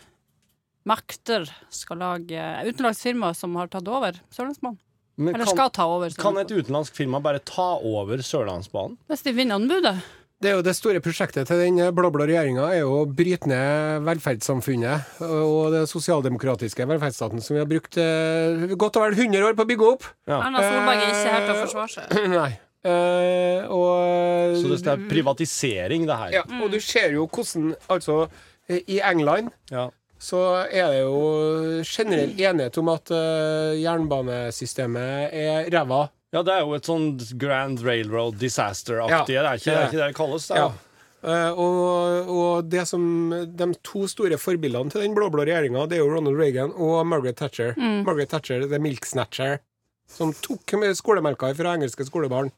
C: makter skal lage Utenlandsk firma som har tatt over Sørlandsbanen.
B: Men
C: Eller
B: kan,
C: skal ta over.
B: kan et
C: Sørlandsbanen.
B: utenlandsk firma bare ta over Sørlandsbanen?
C: Hvis de vinner anbudet.
D: Det er jo det store prosjektet til den blå-blå regjeringa, er jo å bryte ned velferdssamfunnet og den sosialdemokratiske velferdsstaten som vi har brukt eh, godt og vel 100 år på å bygge opp.
C: Erna Solberg er ikke her til å forsvare seg.
D: Nei. Eh, og
B: Så det er privatisering, det her.
D: ja, Og du ser jo hvordan Altså, eh, i England
B: Ja.
D: så er det jo generell enighet om at eh, jernbanesystemet er ræva.
B: Ja, det er jo et sånn Grand Railroad Disaster-aktig. Det,
D: Ja.
B: er ikke- det er ikke det det kalles. Det er.
D: Ja. Eh, og, og det som, de to store forbildene til den blå-blå regjeringa, det er jo Ronald Reagan og Margaret Thatcher. Margaret Thatcher, the milk snatcher, som tok med skolemelka fra engelske skolebarn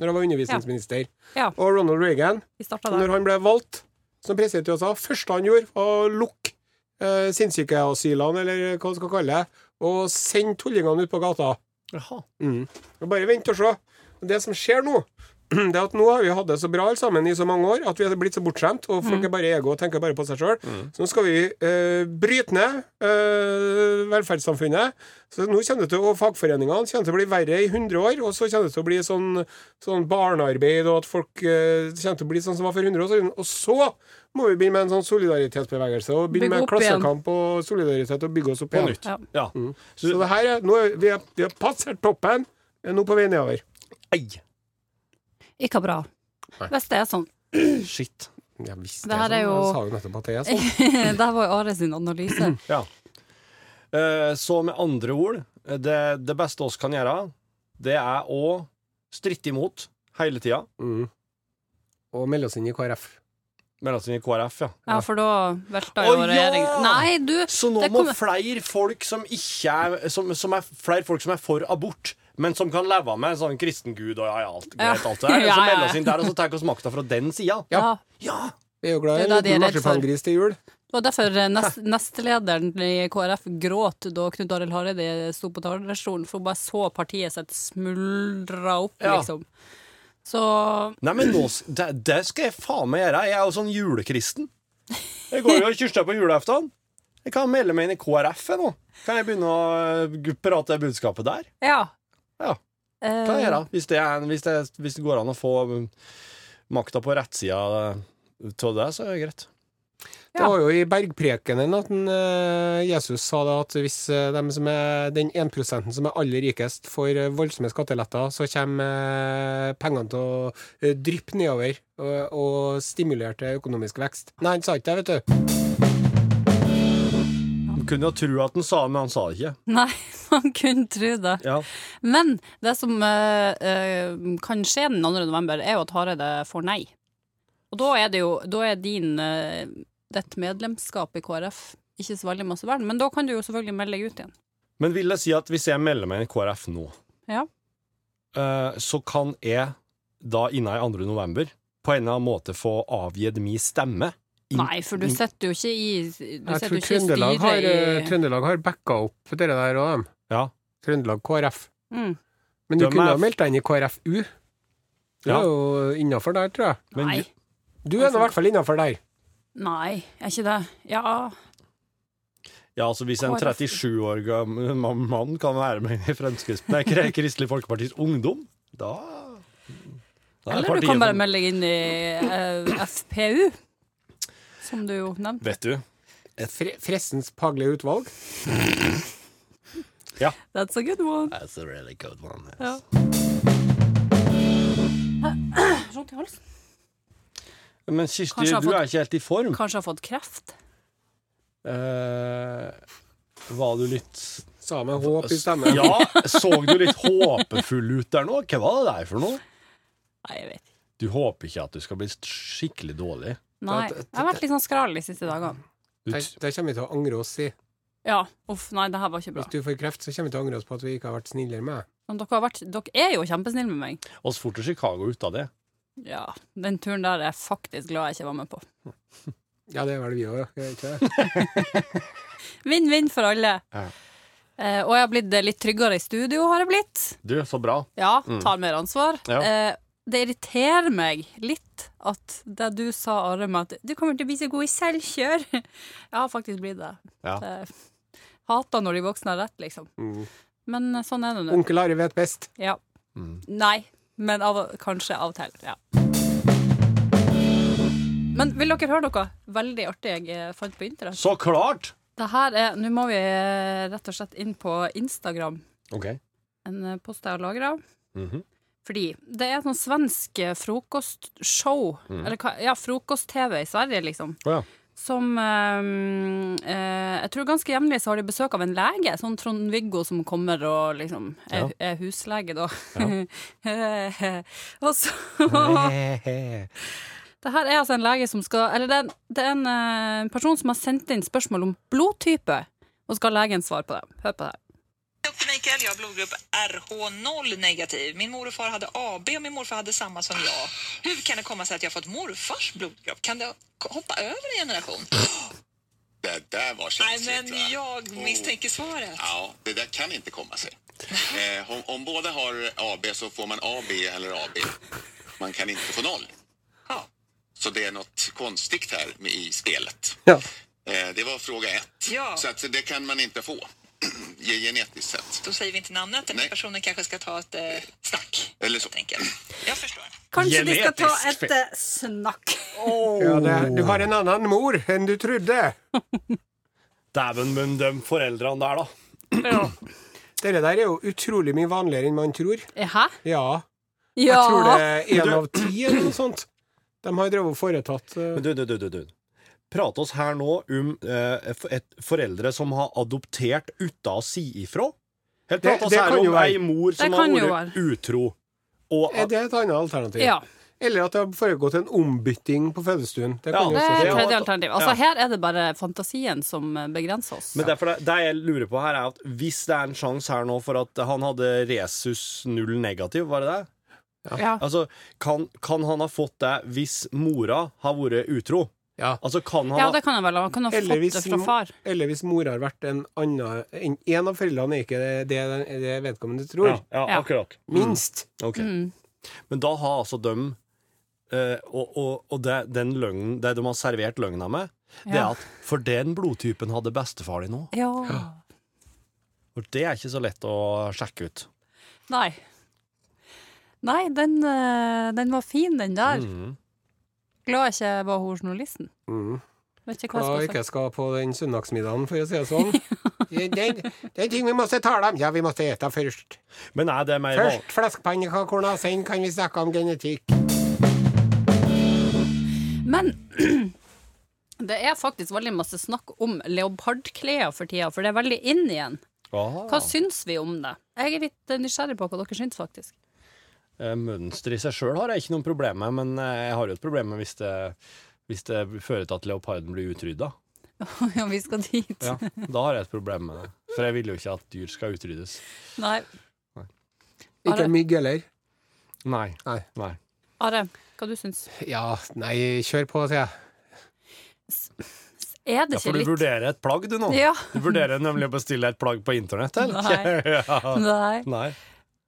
D: når han var undervisningsminister.
C: Ja.
D: Og Ronald Reagan,
C: Vi starta der.
D: når han ble valgt som president i USA, første han gjorde, var å lukke eh, sinnssykeasylene, eller hva man skal kalle det, og sende tullingene ut på gata.
B: Jaha.
D: Mm. Og Bare vent og se. Og Det som skjer nå, det er at nå har vi hatt det så bra alle sammen i så mange år at vi er blitt så bortskjemt, og
C: Mm.
D: folk er bare ego og tenker bare på seg sjøl. Så nå skal vi eh, bryte ned eh, velferdssamfunnet. Så nå kommer det til å, Fagforeningene kommer til å bli verre i 100 år, og så kommer det til å bli sånn, sånn barnearbeid, og at folk eh, kommer til å bli sånn som var for 100 år siden. Og så må vi begynne med en sånn solidaritetsbevegelse, og begynne
C: Bygge
D: med
C: opp igjen.
D: klassekamp og solidaritet, og bygge oss opp
B: På
D: igjen.
B: nytt.
C: Ja. Mm.
B: Ja.
D: Så det her er, nå er, vi, er, vi har passert toppen, er nå på vei nedover.
B: Ei,
C: Ikke bra. Hvis det er sånn.
B: shit.
D: Ja, visst,
C: Det her er
D: sånn.
C: jo-
D: Jeg sa jo nettopp at det er sånn.
C: Der var jo Are sin analyse.
B: Ja. Eh, så med andre ord, eh, det, det beste oss kan gjøre, det er å stritte imot hele tida.
D: Mm. Og melde oss inn i KrF.
B: Melde oss inn i KrF, ja.
C: Ja, for da velta
B: Å,
C: jo
B: ja!
C: regjeringen Nei, du!
B: Så nå
C: det
B: må
C: kommer-
B: flere folk som ikke er, som, som er Flere folk som er for abort, men som kan leve med en sånn kristen gud og ja, ja, alt, greit, alt det der,
C: Ja,
B: så
C: ja, ja.
B: melde oss inn der, og så tar vi oss makta fra den sida.
C: Ja.
B: Ja!
D: Vi er jo glad i
C: Det
D: en
C: er da de
D: liten
C: er redd for.
D: marsipangris til jul.
C: Det var derfor eh, nest, nestlederen i KrF gråt da Knut Arild Hareide sto på talerstolen, for hun bare så partiet sitt smuldra opp,
B: Ja.
C: liksom. Så
B: Nei, men nå, s- det, det skal jeg faen meg gjøre. Jeg er jo sånn julekristen. Jeg går jo og kyrster på julaften. Jeg kan melde meg inn i KrF jeg, nå. Kan jeg begynne å eh, g- prate det budskapet der?
C: ja.
B: Ja.
C: Eh,
B: Kan jeg gjøre, hvis det, er, en- hvis det, hvis det går an å få mm, makta på rettsida av det, så er det greit.
D: Det var jo i Bergprekenen at den, eh, Jesus sa da at hvis eh, dem som er, den 1 som er aller rikest, får eh, voldsomme skatteletter, så kommer eh, pengene til å eh, dryppe nedover og, og stimulere til økonomisk vekst. Nei, han sa ikke det, vet du.
B: Man kunne jo tro at han sa det, men han sa det ikke.
C: Nei, man kunne tro det.
B: Ja.
C: Men det som eh, eh, kan skje den 2. november, er jo at Hareide får nei. Og da er det jo Da er din eh, ditt medlemskap i KrF ikke så veldig masse verden, men da kan du jo selvfølgelig melde deg ut igjen.
B: Men vil jeg si at hvis jeg melder meg inn i KrF nå,
C: Ja.
B: eh, så kan jeg da innen i 2. november på en eller annen måte få avgitt min stemme. Inn-
C: Nei, for du sitter jo ikke i Du
D: Jeg
C: sitter jo
D: tror
C: ikke i
D: Trøndelag har, eh,
C: styret i
D: Trøndelag har backa opp det der òg, dem.
B: Ja.
D: Trøndelag KrF.
C: mm.
D: Men du
B: Dem
D: kunne
B: er-
D: ha meldt deg inn i KrFU. Du
B: Ja.
D: er jo innafor der, tror jeg.
B: Men
C: Nei.
D: Du er nå i hvert fall innafor der.
C: Nei, er ikke det. Ja.
B: Ja, altså Hvis en
C: KrF.
B: 37 år gammel mann kan være med i Fremskrittspartiet Nei, Kre- Kristelig Folkepartis ungdom, da, da er
C: Eller du
B: partiet
C: kan bare
B: for-
C: melde deg inn i eh, FPU, som du jo nevnte.
B: Vet du,
D: Fre Fressens faglige utvalg.
C: That's a good one.
B: that's a really good one. yes.
C: Ja. Vondt i halsen.
B: Men Kirsti,
C: Kanskje jeg har
B: du er ikke helt i form.
C: Kanskje jeg har fått kreft?
B: Eh, var du litt
D: Sa med håp i stemmen.
B: Ja, så du litt håpefull ut der nå? Hva var det der for noe?
C: Nei, jeg vet ikke.
B: Du håper ikke at du skal bli skikkelig dårlig?
C: Nei,
D: Det- det-
C: jeg har vært litt sånn skral de siste dagene.
B: Du,
D: Det, det kommer vi til å angre oss i.
C: Ja, uff, nei, det her var ikke bra.
D: Hvis du får kreft, så kommer vi til å angre oss på at vi ikke har vært snillere med deg.
C: Men dere, har vært, dere er jo kjempesnille med meg.
B: oss fort til Chicago ut av det.
C: Ja, den turen der er jeg faktisk glad jeg ikke var med på.
D: Ja, det er vel vi òg.
C: Vinn-vinn for alle.
B: Ja.
C: Eh, og jeg har blitt eh, litt tryggere i studio, har jeg blitt.
B: Du, så bra.
C: Ja, tar mer ansvar.
B: Ja.
C: Eh, det irriterer meg litt at det du sa, Are, med at du kommer til å bli så god i selvkjør. Jeg har faktisk blitt det.
B: Ja. Mm.
C: det hater når de voksne har rett, liksom. Men eh, sånn er det nå.
D: Onkel Are vet best.
C: Ja. Nei, men av, kanskje av og til. Ja. Men vil dere høre noe veldig artig jeg eh, fant på internett?
B: Så klart!
C: Det her er, Nå må vi eh, rett og slett inn på Instagram,
B: Ok.
C: en eh, post jeg har lagra.
B: Mhm.
C: Fordi det er et sånn svensk eh, frokostshow, eller hva, ja, frokost-TV i Sverige, liksom.
B: Mhm. Å ja.
C: Som eh, eh, Jeg tror ganske jevnlig så har de besøk av en lege, sånn Trond-Viggo som kommer og liksom er, er huslege, da. og så Det her er altså en lege som skal Eller det er en, det er en eh, person som har sendt inn spørsmål om blodtype, og skal ha legen svare på det. Hør på det her.
E: Hej, jag heter Mikael, jag har blodgrupp RH0 negativ. Min mor och far hade AB och min morfar hade samma som jag. Hur kan det komma sig att jag fått morfars blodgrupp? Kan det hoppa över en generation?
F: Det där var
E: Nej,
F: känsligt. va?
E: men jag misstänker svaret.
F: Ja, det där kan inte komma sig. Eh, om, om båda har AB så får man AB eller AB. man kan inte få noll.
E: Ja.
F: Så det är något konstigt här med, i spelet.
D: Ja.
F: Eh, det var fråga ett.
E: Ja.
F: Så att det kan man inte få ge- genetiskt sett.
E: Då säger vi inte namnet. Den här
F: Nej.
E: personen kanske ska ta ett eh, snack.
F: Eller så.
E: Helt enkelt. Jag förstår.
C: Kanskje de skal ta
B: Genetisk
C: et eh, snakk.
D: Ja, det, du har en annen mor enn du trodde.
B: Dæven, men de foreldrene der, da.
D: Dette der er jo utrolig mye vanligere enn man tror.
C: Hæ?
D: Ja.
C: Ja.
D: Jeg tror det er
B: Men
D: én
B: du-
D: av ti eller noe sånt. De har drevet og foretatt eh,
B: Men du, du, du, du, du. Prate oss her nå om eh, et foreldre som har adoptert uten å si ifra. Helt
D: Det-
B: prate oss
D: det
B: her
D: kan jo
B: om ei
D: være.
B: mor som
C: Det
B: har
C: kan jo
B: vært utro. Og
D: Er det et annet alternativ?
C: Ja.
D: Eller at det har foregått en ombytting på fødestuen. Det kan
B: Ja,
D: jo
C: Det
D: også
C: er
D: skje.
B: jo
C: tredje
B: at-
C: alternativ. Altså,
B: ja.
C: her er det bare fantasien som eh, begrenser oss.
B: Men derfor det, det jeg lurer på her, er at hvis det er en sjanse her nå for at han hadde resus null negativ, var det det?
C: Ja.
B: Altså, kan, kan han ha fått det hvis mora har vært utro?
D: Ja.
B: Altså, kan han
C: Ja, det kan jeg vel. Man kan ha
D: Eller
C: fått
D: hvis,
C: det fra far.
D: eller hvis mor har vært en annen En, en av foreldrene er ikke det, det, det vedkommende tror.
B: ja, Mm. ja,
C: Ja.
B: akkurat.
D: Minst.
B: Ok.
C: Mm.
B: Men da har altså dem eh, Og, og, og det, den løgnen, det de har servert løgna med, det er
C: Ja.
B: at for den blodtypen hadde bestefar din nå.
C: Ja.
B: Og det er ikke så lett å sjekke ut.
C: Nei. Nei, den, eh, den var fin, den der. Glad jeg ikke var hun journalisten. Vet ikke
D: Da
C: hva jeg skal si.
D: Mm. ikke jeg skal på den søndagsmiddagen, for å si det sånn. Det, det, det er ting vi måtte tale om. Ja, vi måtte ete først.
B: Men er det mer van-
D: Først fleskepannekakorna, sen kan vi snakke om genetikk.
C: Men det er faktisk veldig masse snakk om leopardklær for tida, for det er veldig inn igjen.
B: Aha.
C: Hva syns vi om det? Jeg er litt eh, nysgjerrig på hva dere syns, faktisk.
B: Eh, Mønster i seg sjøl har jeg ikke noe problem med, men eh, jeg har jo et problem med hvis det, hvis det fører til at leoparden blir utrydda.
C: ja, vi skal dit.
B: Da har jeg et problem med det. For jeg vil jo ikke at dyr skal utryddes.
C: Nei.
D: Ikke mygg heller.
B: Nei.
D: Nei.
B: Nei.
C: Are, hva du syns?
D: Ja, nei, kjør på, sier jeg.
C: Er det
B: Ja,
C: ikke
B: for du
C: litt
B: vurderer et plagg, du nå.
C: Ja.
B: Du vurderer nemlig å bestille et plagg på internett, eller?
C: Nei.
B: ja.
C: Nei.
B: Nei.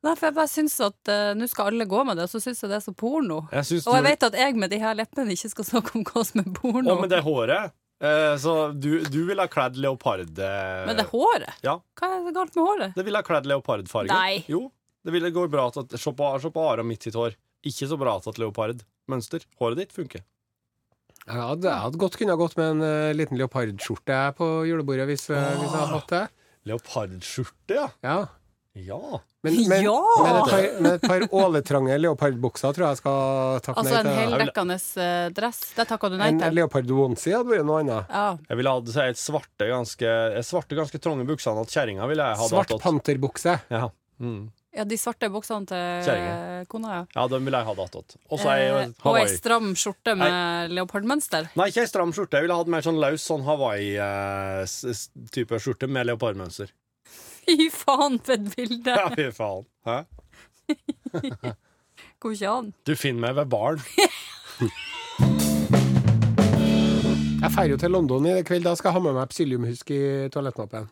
C: Nei, for jeg bare syns at eh, nå skal alle gå med det, og så syns jeg det er så porno.
B: Jeg syns
C: Og jeg
B: du-
C: vet at jeg med de her leppene ikke skal snakke om hva som er porno.
B: Å, men det håret. Eh, så du, du ville ha kledd leopard... eh,
C: Men det håret?
B: Ja.
C: Hva er det galt med håret?
B: Det ville ha kledd leopardfarge.
C: Nei.
B: Jo. Det ville gå bra til at Se på, se på Are og mitt sitt hår. Ikke så bra til at leopardmønster. Håret ditt funker.
D: Jeg hadde, jeg hadde godt kunnet gått med en eh, liten leopardskjorte jeg, på julebordet hvis, eh, hvis jeg hadde hatt det.
B: Leopardskjorte, ja.
D: Ja.
B: Ja.
D: Men, men,
C: Ja!
D: men et par, men et par åletrange leopardbukser tror jeg skal takke
C: Altså en
D: nei til.
C: heldekkende eh, dress. Det takka du nei
D: En
C: til.
D: leopard-onesie hadde vært noe annet.
C: Ja.
B: Jeg ville hatt så jeg svarte ganske jeg svarte ganske trange buksene at kjerringa ville jeg ha
D: Svart panterbukse.
B: Ja. Mm.
C: ja, de svarte buksene til
B: Kjerringa.
C: eh, kona, ja.
B: ja, den ville jeg ha datt åt. Og så ei
C: Eh, og ei
B: Hawaii.
C: stram skjorte med leopardmønster.
B: Nei, ikke ei stram skjorte. Jeg ville hatt mer sånn løs sånn eh, Hawaii-type skjorte med leopardmønster.
C: Fy faen, for et bilde!
B: Ja, fy faen. Hæ?
C: Går ikke an.
B: Du finner meg ved baren.
D: Jeg drar jo til London i kveld, da skal jeg ha med meg psylliumhusk i toalettmappen.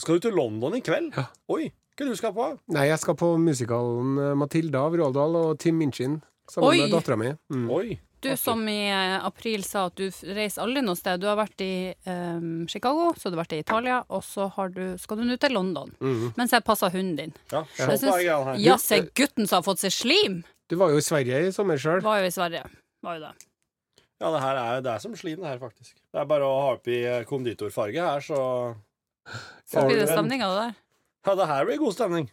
B: Skal du til London i kveld? Oi, hva du skal på?
D: Nei, jeg skal på musikalen eh, Matilda av Rådal og Tim Minchin sammen
C: Oi!
D: med dattera mi. Mm.
B: Oi.
C: Du som i eh, april sa at du f- reiser aldri noe sted. Du har vært i eh, Chicago, så har du har vært i Italia, og så har du, skal du nå til London. Mens jeg passer hunden din.
B: Mhm. Ja, se
C: Jeg
B: på
C: syns-
B: de greiene her.
C: Ja, se gutten som har fått seg slim!
D: Du var jo i Sverige i sommer sjøl.
C: Var jo i Sverige. Var jo det.
B: Ja, det her er, det er som slim, det her, faktisk. Det er bare å ha oppi eh, konditorfarge her, så
C: Så blir
B: Har du
C: det
B: en-
C: stemning av det der.
B: Ja, det her blir god stemning.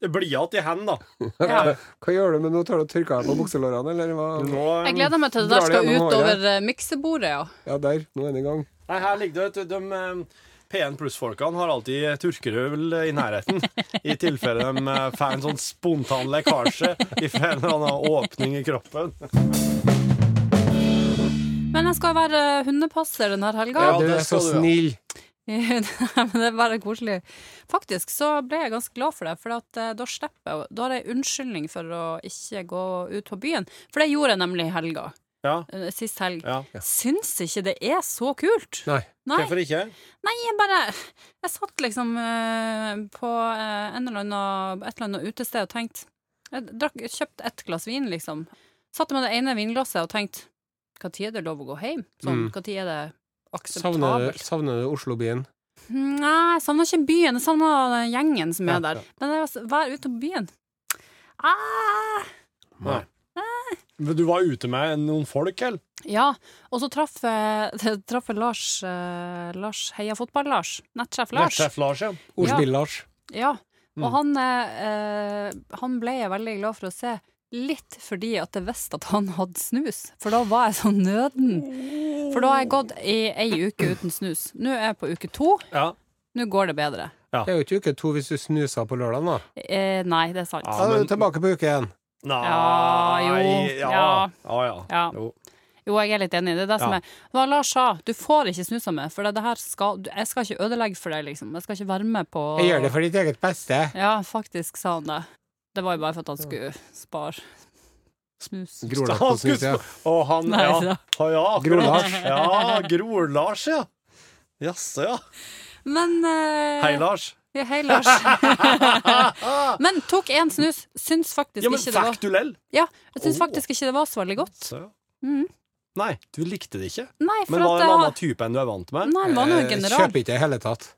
B: Det blir igjen i hand, da.
C: Ja.
D: Hva gjør du med nå? Tar du tørka deg på bukselårene, eller hva?
B: Nå, eh,
C: Jeg gleder meg til det der
D: Drar det
C: skal
D: gjennom håret.
C: utover eh, miksebordet, ja.
D: Ja, der. Nå er den i gang.
B: Nei, her ligger det, vet du, de eh, P1 Pluss-folkene har alltid turkerøl i nærheten, i tilfelle de eh, får en sånn spontan lekkasje fra en eller annen åpning i kroppen.
C: Men jeg skal være eh, hundepasser denne helga.
B: Ja,
D: du
B: det
D: er
B: skal du,
D: så
B: ja.
D: snill.
C: Men det er bare koselig. Faktisk så ble jeg ganske glad for det, for at eh, da slipper jeg Da har jeg unnskyldning for å ikke gå ut på byen. For det gjorde jeg nemlig i helga.
B: Ja,
C: eh, Sist helg.
B: ja.
C: Syns ikke det er så kult.
D: Nei.
C: Nei,
B: Hvorfor ikke?
C: nei jeg bare Jeg satt liksom eh, på eh, en eller annen, et eller annet utested og tenkte Jeg drakk, kjøpte ett glass vin, liksom. Satt med det ene vinglasset og tenkte Når er det lov å gå hjem? Sånn,
B: Mm.
C: Når er det
D: Savner,
C: akseptabelt?
D: savner du Oslo-byen?
C: Nei, jeg savner ikke byen. Jeg savner den gjengen som
D: Ja,
C: er der.
D: ja.
C: Men det er å være ute på byen ah!
B: Nei. Men du var ute med noen folk, eller?
C: Ja, og så traff jeg traff jeg Lars, eh, Lars Heia Fotball-Lars. Nettsjef Lars.
B: Nettsjef Lars, ja.
D: Ordspill-Lars.
C: Ja.
D: Mm.
C: Og han, eh, eh, han ble jeg veldig glad for å se. Litt fordi at jeg visste at han hadde snus, for da var jeg så nøden. For da har jeg gått i ei uke uten snus. Nå er jeg på uke to.
B: Ja.
C: Nå går det bedre.
D: Det er jo ikke uke to hvis du snuser på lørdag, da.
C: Eh, nei, det er sant.
B: Ja.
D: Da er
B: men-
D: du tilbake på uke én.
B: Nei
C: Ja, jo, ja.
B: Ja, ja.
C: Ja.
B: Jo.
C: Jo, jeg er litt enig. Det er det som
B: Ja.
C: er Hva Lars sa, du får ikke snusa med, for det, det her skal du- Jeg skal ikke ødelegge for deg, liksom. Jeg skal ikke være med på
D: Jeg gjør det for ditt eget beste.
C: Ja, faktisk sa han det. Det var jo bare for at han skulle spare snus.
D: Grolars på
B: Han skulle
D: snus, ja.
B: sp- Og han
C: Nei,
B: ja.
C: da.
B: Ja, ja, akkurat.
D: Grol-Lars.
B: Ja, Grol-Lars, ja. Jaså, ja.
C: Men eh,
B: Hei, Lars.
C: Ja, hei, Lars. Men tok én snus. Syns faktisk
B: Ja, men
C: ikke det var
B: fikk du lell?
C: Ja, jeg syns
B: Åh.
C: faktisk ikke det var så veldig godt.
B: Så, ja.
C: Mhm.
B: Nei, du likte det ikke.
C: Nei, for
B: Men var det en
C: at jeg
B: annen
C: har
B: type enn du er vant med?
C: Nei, han var nå
D: Eh,
C: general.
D: Kjøper ikke i det hele tatt.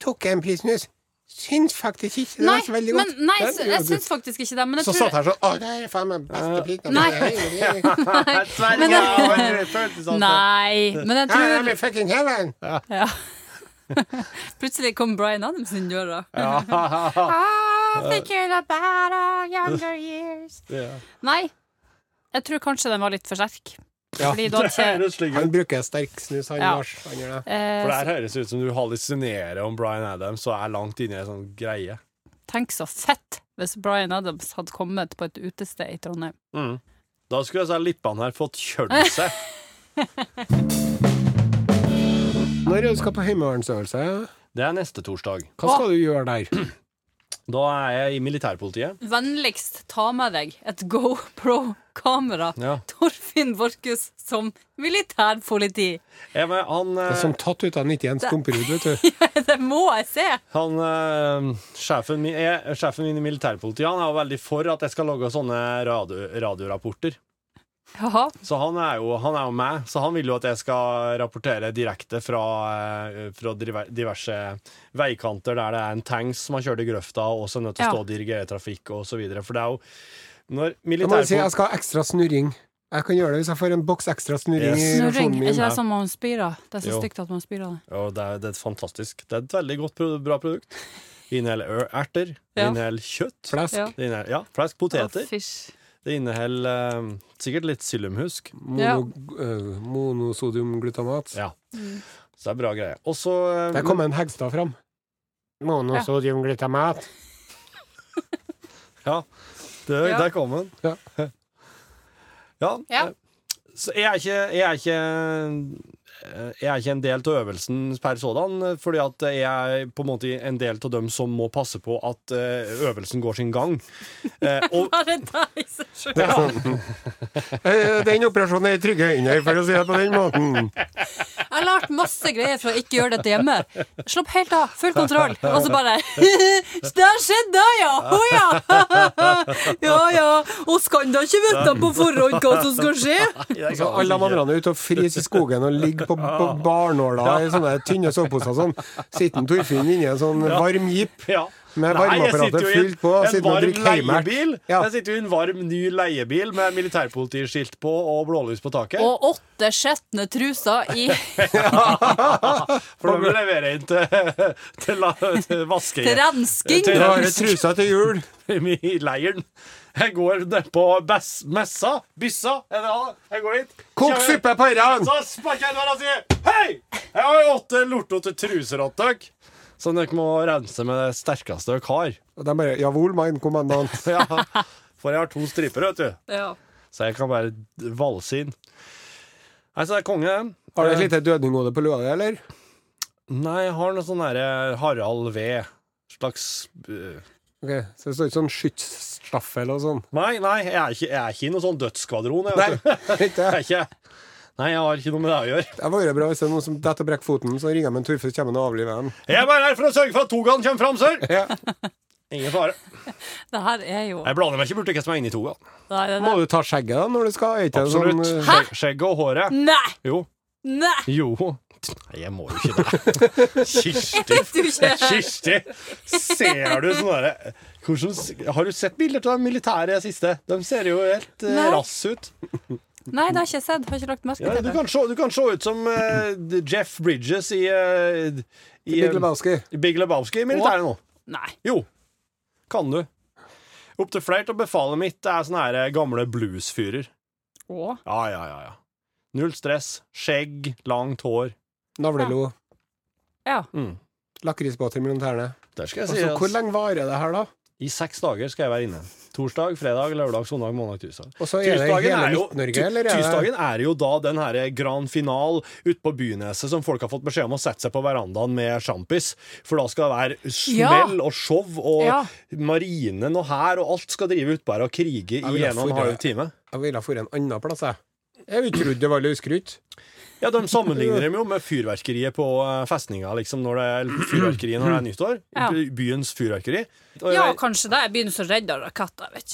D: Tok en pris snus. Syns faktisk ikke det
C: Nei,
D: var så veldig
C: men,
D: godt.
C: nei,
D: Den
C: så-
D: gjorde
C: jeg
D: du.
C: syns faktisk ikke det, men jeg
D: Så
C: tror
D: satt her sånn Å, det er faen meg beste prisen
C: Nei.
B: Nei, Sverige,
C: Men-
B: ja, men- føltes sånn.
C: Nei, men jeg tror
D: fucking heaven!
C: ja. Plutselig kom Bryan Adams inn døra.
B: Ja.
C: Ah, thinking about our younger years.
B: Ja.
C: Nei, jeg tror kanskje den var litt for sterk.
D: Ja.
C: Fordi da
B: Det
C: ikke
B: høres slik ut.
D: Han bruker sterk snus, han
C: Ja.
D: Lars. Han gjør det.
C: eh,
B: For det her høres ut som du hallusinerer om Bryan Adams og er langt inne i en sånn greie.
C: Tenk så fett hvis Bryan Adams hadde kommet på et utested i Trondheim.
B: Da skulle disse lippene her fått kjølt seg.
D: Når er det du skal på heimevernsøvelse,
B: Det er neste torsdag.
D: hva skal du gjøre der?
B: Da er jeg i militærpolitiet.
C: Vennligst ta med deg et GoPro-kamera.
B: Ja.
C: Torfinn Borchhus som militærpoliti.
B: Jeg, men han
D: Det
B: eh,
D: er
C: sånn-
D: som tatt ut av 91 skumperud, vet du.
C: Det må jeg se!
B: han, eh, sjefen, min, jeg, sjefen min i militærpolitiet Han er jo veldig for at jeg skal lage sånne radio, radiorapporter.
C: Jaha.
B: Så han er, jo, han er jo med. Så han vil jo at jeg skal rapportere direkte fra, eh, fra driver- diverse veikanter der det er en tanks som har kjørt i grøfta, og som er nødt til å
C: Ja.
B: stå og dirigere trafikk og så videre. For det er jo når
D: Jeg må si altså- jeg
B: militærpolitiet
D: skal ha ekstra snurring. Jeg kan gjøre det hvis jeg får en boks ekstra snurring i
B: Yes.
C: Snurring.
D: rasjonen
C: Er
D: min.
C: ikke det som man spyr av? Det er så
B: Jo.
C: stygt at man spyr av det.
B: Å, det, er, det er fantastisk. Det er et veldig godt, pro- bra produkt. Det inneholder ø- erter. Det
C: Ja.
B: inneholder kjøtt.
D: Flesk.
C: Ja.
B: Det inneholder, ja, flesk, poteter.
C: Å, fysj.
B: Det inneholder eh, sikkert litt psylliumhusk.
D: Mono, øh, monosodiumglutamat.
B: Ja. Så det er bra greie. Og så eh,
D: Der kom en Hegstad fram. Monosodiumglutamat.
B: Ja, det,
C: Ja.
B: der kom den.
D: Ja.
B: Ja,
C: Ja.
B: eh, Så jeg er ikke Jeg er ikke eh, jeg er ikke en del av øvelsen per sådan, fordi at jeg er på en måte en del av dem som må passe på at eh, øvelsen går sin gang. Eh, Og
C: Bare deg i seg sjøl.
B: ja,
D: Eh, Den operasjonen er jeg trygge under, for å si det på den måten.
C: Jeg har lært masse greier for å ikke gjøre dette hjemme. Slapp helt av, full kontroll. Og så bare Der skjedde det, ja! Å ja! Ja ja. Oss kan da ikke vite på forhånd hva som skal skje.
B: altså,
D: Så Altså, alle de andre er ute og fryser i skogen og ligger på, på barnåla i sånne tynne soveposer. Sånn. Sitter en Torfinn inni en sånn varm jeep
B: ja.
D: med
B: Nei, jeg
D: varmeapparatet
B: sitter jo i en-
D: fylt på, og
B: En
D: sitter og
B: varm
D: drikker Heimert.
B: leiebil.
D: Ja.
B: Jeg sitter jo i en varm, ny leiebil med militærpolitiskilt på og blålys på taket.
C: Og åtte skjetne truser i
B: For de vil levere inn til, til, la- til vasking
C: til rensking.
D: Du har trusa til jul.
B: i leiren. Jeg går ned på bes- messa. Byssa. Er det han? Jeg går dit.
D: Kok
B: Kjenner-
D: suppe på ørene!
B: Så sparker jeg døra og sier Hei! Jeg har jo åtte lortete truser åt dere. Som dere må rense med det sterkeste dere har.
D: Og de bare Ja vol, mein kommandant.
B: Ja. For jeg har to striper, vet du.
C: Ja.
B: Så jeg kan bare valse inn. Nei, så det er konge. Eh,
D: Har du et lite dødninghode på lua di, eller?
B: Nei, jeg har noe sånn derre Harald V. Slags eh,
D: Ok, Så det står ikke sånn skytsstaffel og sånn?
B: Nei, nei, jeg er ikke, jeg er ikke i noen sånn dødsskvadron. Jeg,
D: Nei,
B: vet du.
D: ikke
B: Jeg
D: det.
B: er ikke, nei, jeg har ikke noe med det å gjøre.
D: Det hadde vært bra hvis det er noen som detter og brekker foten, så ringer jeg med en Torfinn, så kommer han og avliver ham.
B: Jeg er bare her for å sørge for at togaen kommer fram, sør!
D: Ja.
B: Ingen fare.
C: Det her er jo
B: Jeg blander meg ikke bort i hva som er inni toga.
C: Nei! det
D: Må
C: der-
D: du ta skjegget da når du skal? Er ikke det
B: Absolutt.
D: Sånn, eh,
B: Skjegg- Skjegget og håret.
C: Nei!
B: Jo.
C: Nei!
B: Jo. Nei, jeg må jo ikke det. Kirsti.
C: Du ikke
B: Kirsti! Ser du sånn derre Hvordan s- Har du sett bilder av de militære siste? De ser jo helt eh,
C: Nei.
B: rass ut.
C: Nei, det har jeg ikke sett. Har ikke lagt merke
B: Ja,
C: til
B: du,
C: det.
B: kan se, du kan se ut som eh, Jeff Bridges i, eh, i eh,
D: Big Lebowski.
B: Big Lebowski i militæret nå.
C: Nei.
B: Jo, kan du. Opp til flere av befalet mitt er sånne her eh, gamle bluesfyrer.
C: Å.
B: Ja, ja, ja, ja. Null stress, skjegg, langt hår.
D: Navlelo. Mm.
C: Ja.
D: Lakrisbåter mellom tærne.
B: Der skal jeg si
D: Altså, hvor lenge varer det her, da?
B: I seks dager skal jeg være inne. Torsdag, fredag, lørdag, søndag, måndag, tirsdag.
D: Og så er det hele
B: er jo-
D: Midt-Norge, eller? er det-
B: tirsdagen er jo da den her grand final ute på Byneset som folk har fått beskjed om å sette seg på verandaen med sjampis. For da skal det være smell og show, og
C: Ja.
B: marinen og hær og alt skal drive utpå her og krige
D: Jeg
B: i
D: vil ha
B: en og en
D: fôr,
B: halv
D: ja.
B: time.
D: Jeg ville ha dratt en annen plass, jeg. Jeg trodde det var løskrutt.
B: Ja, De sammenligner dem jo med fyrverkeriet på eh, festninga, liksom, når det er fyrverkeriet når det er nyttår.
C: Ja.
B: By- Byens fyrverkeri. Og
C: ja,
B: jeg-
C: kanskje det. Jeg begynner så redd av raketter. Jeg vet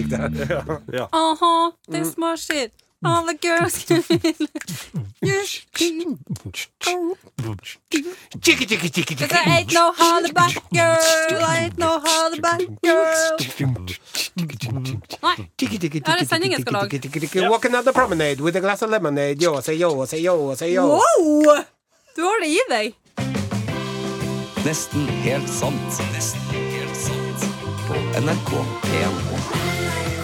C: ikke helt.
B: ja.
C: Aha, this machine. All the girls can feel it. Yes. Cause I ain't no hollaback girl. I ain't no hollaback girl. Nei. Ja, det er sendingen skal lage.
D: Walking on the promenade with a glass of lemonade. Yo, say yo, say yo, say yo.
C: Wow! Du har det i deg.
A: Nesten helt sant. Nesten helt sant. På NRK P1.